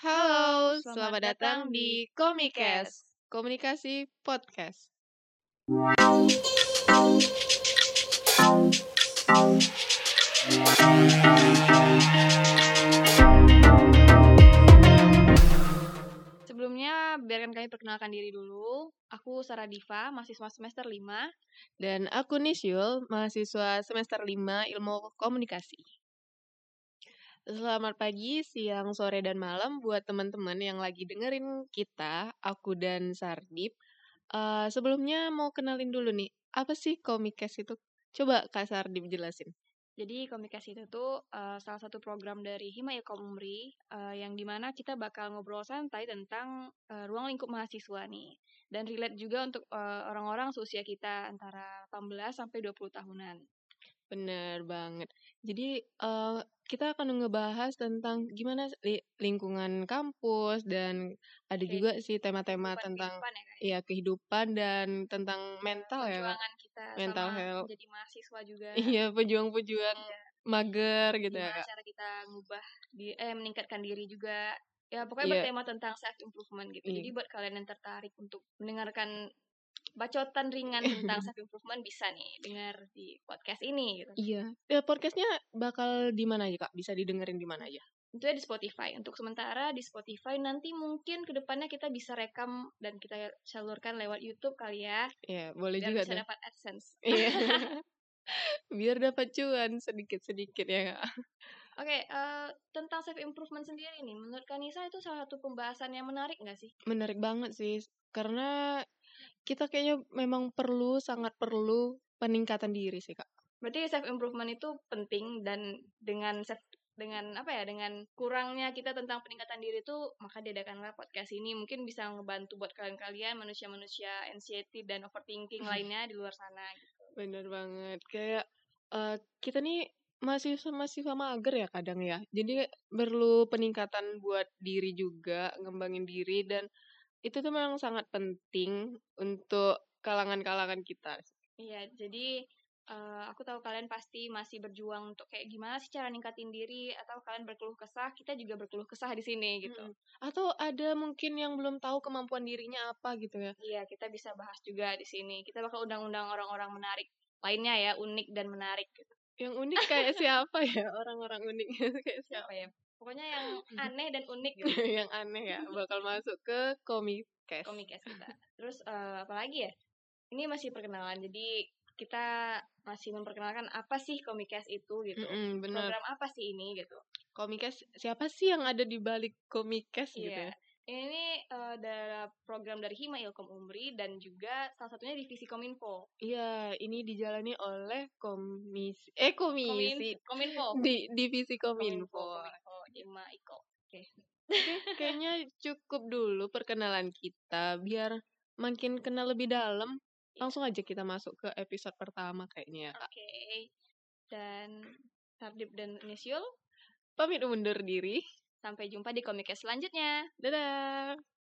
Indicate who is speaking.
Speaker 1: Halo,
Speaker 2: Halo,
Speaker 1: selamat
Speaker 2: selamat
Speaker 1: datang
Speaker 2: datang
Speaker 1: di
Speaker 2: di
Speaker 1: Komikes,
Speaker 2: Komikes.
Speaker 1: komunikasi podcast.
Speaker 2: Sebelumnya, biarkan kami perkenalkan diri dulu. Aku Sarah Diva, mahasiswa semester 5.
Speaker 1: Dan aku Nisyul, mahasiswa semester 5 Ilmu Komunikasi. Selamat pagi, siang, sore, dan malam buat teman-teman yang lagi dengerin kita, aku dan Sardip. Eh, sebelumnya mau kenalin dulu nih, apa sih Komikes itu? Coba Kak Sardip jelasin.
Speaker 2: Jadi, komunikasi itu tuh eh, salah satu program dari Hima Ilkom Umri, eh, yang dimana kita bakal ngobrol santai tentang eh, ruang lingkup mahasiswa nih. Dan relate juga untuk eh, orang-orang seusia kita, antara 18 sampai 20 tahunan.
Speaker 1: Bener banget. Jadi eh, kita akan ngebahas tentang gimana li- lingkungan kampus dan ada
Speaker 2: Oke,
Speaker 1: juga sih tema-tema tentang
Speaker 2: kehidupan-kehidupan ya, Kak.
Speaker 1: ya kehidupan dan tentang mental ya Kak.
Speaker 2: Perjuangan kita
Speaker 1: Mental
Speaker 2: sama
Speaker 1: health.
Speaker 2: menjadi mahasiswa juga.
Speaker 1: Iya, pejuang-pejuang
Speaker 2: Iya.
Speaker 1: mager gitu ya
Speaker 2: gimana
Speaker 1: Kak.
Speaker 2: cara kita ngubah di eh meningkatkan diri juga ya pokoknya
Speaker 1: Iya,
Speaker 2: bertema tentang self improvement gitu
Speaker 1: iya.
Speaker 2: jadi buat kalian yang tertarik untuk mendengarkan bacotan ringan tentang self improvement bisa nih dengar di podcast ini gitu
Speaker 1: Iya. Ya, podcastnya bakal di mana aja Kak? Bisa didengerin di mana aja?
Speaker 2: itu ya di Spotify untuk sementara di Spotify nanti mungkin kedepannya kita bisa rekam dan kita salurkan lewat YouTube kali ya
Speaker 1: Iya, boleh
Speaker 2: biar
Speaker 1: juga
Speaker 2: bisa
Speaker 1: tuh.
Speaker 2: dapat adsense
Speaker 1: Iya. Biar dapat cuan sedikit-sedikit ya Kak.
Speaker 2: oke eh, tentang self improvement sendiri nih menurut Kanisa itu salah satu pembahasan yang menarik nggak sih
Speaker 1: Menarik banget sih karena kita kayaknya memang perlu sangat perlu peningkatan diri sih kak
Speaker 2: Berarti self improvement itu penting dan dengan self dengan apa ya dengan kurangnya kita tentang peningkatan diri itu maka diadakanlah podcast ini mungkin bisa ngebantu buat kalian-kalian manusia-manusia anxiety dan overthinking lainnya di luar sana gitu.
Speaker 1: bener banget kayak eh, kita nih masih masih sama mager ya kadang ya jadi perlu peningkatan buat diri juga ngembangin diri dan itu tuh memang sangat penting untuk kalangan-kalangan kita
Speaker 2: Iya, jadi eh, aku tahu kalian pasti masih berjuang untuk kayak gimana sih cara ningkatin diri atau kalian berkeluh kesah, kita juga berkeluh kesah di sini gitu.
Speaker 1: Mm-mm. atau ada mungkin yang belum tahu kemampuan dirinya apa gitu ya
Speaker 2: Iya, kita bisa bahas juga di sini. Kita bakal undang-undang orang-orang menarik lainnya ya, unik dan menarik gitu.
Speaker 1: yang unik kayak siapa ya orang-orang unik kayak siapa
Speaker 2: siapa ya pokoknya yang aneh dan unik gitu
Speaker 1: yang aneh ya bakal masuk ke komikes
Speaker 2: komikes kita terus eh, apa lagi ya ini masih perkenalan jadi kita masih memperkenalkan apa sih komikes itu gitu
Speaker 1: Mm-mm, bener
Speaker 2: program apa sih ini gitu
Speaker 1: komikes siapa sih yang ada di balik komikes gitu
Speaker 2: iya
Speaker 1: ya
Speaker 2: ini eh, adalah program dari Hima Ilkom Umri dan juga salah satunya divisi Kominfo
Speaker 1: iya ini dijalani oleh komisi eh
Speaker 2: Komin
Speaker 1: komisi
Speaker 2: Kominfo
Speaker 1: di divisi
Speaker 2: Kominfo
Speaker 1: kominfo
Speaker 2: Kominfo Hima Iko oke
Speaker 1: oke kayaknya cukup dulu perkenalan kita biar makin kenal lebih dalam
Speaker 2: Iya.
Speaker 1: langsung aja kita masuk ke episode pertama kayaknya ya kak
Speaker 2: oke dan Tardip dan Inisial
Speaker 1: pamit undur diri
Speaker 2: sampai jumpa di komikes selanjutnya
Speaker 1: dadah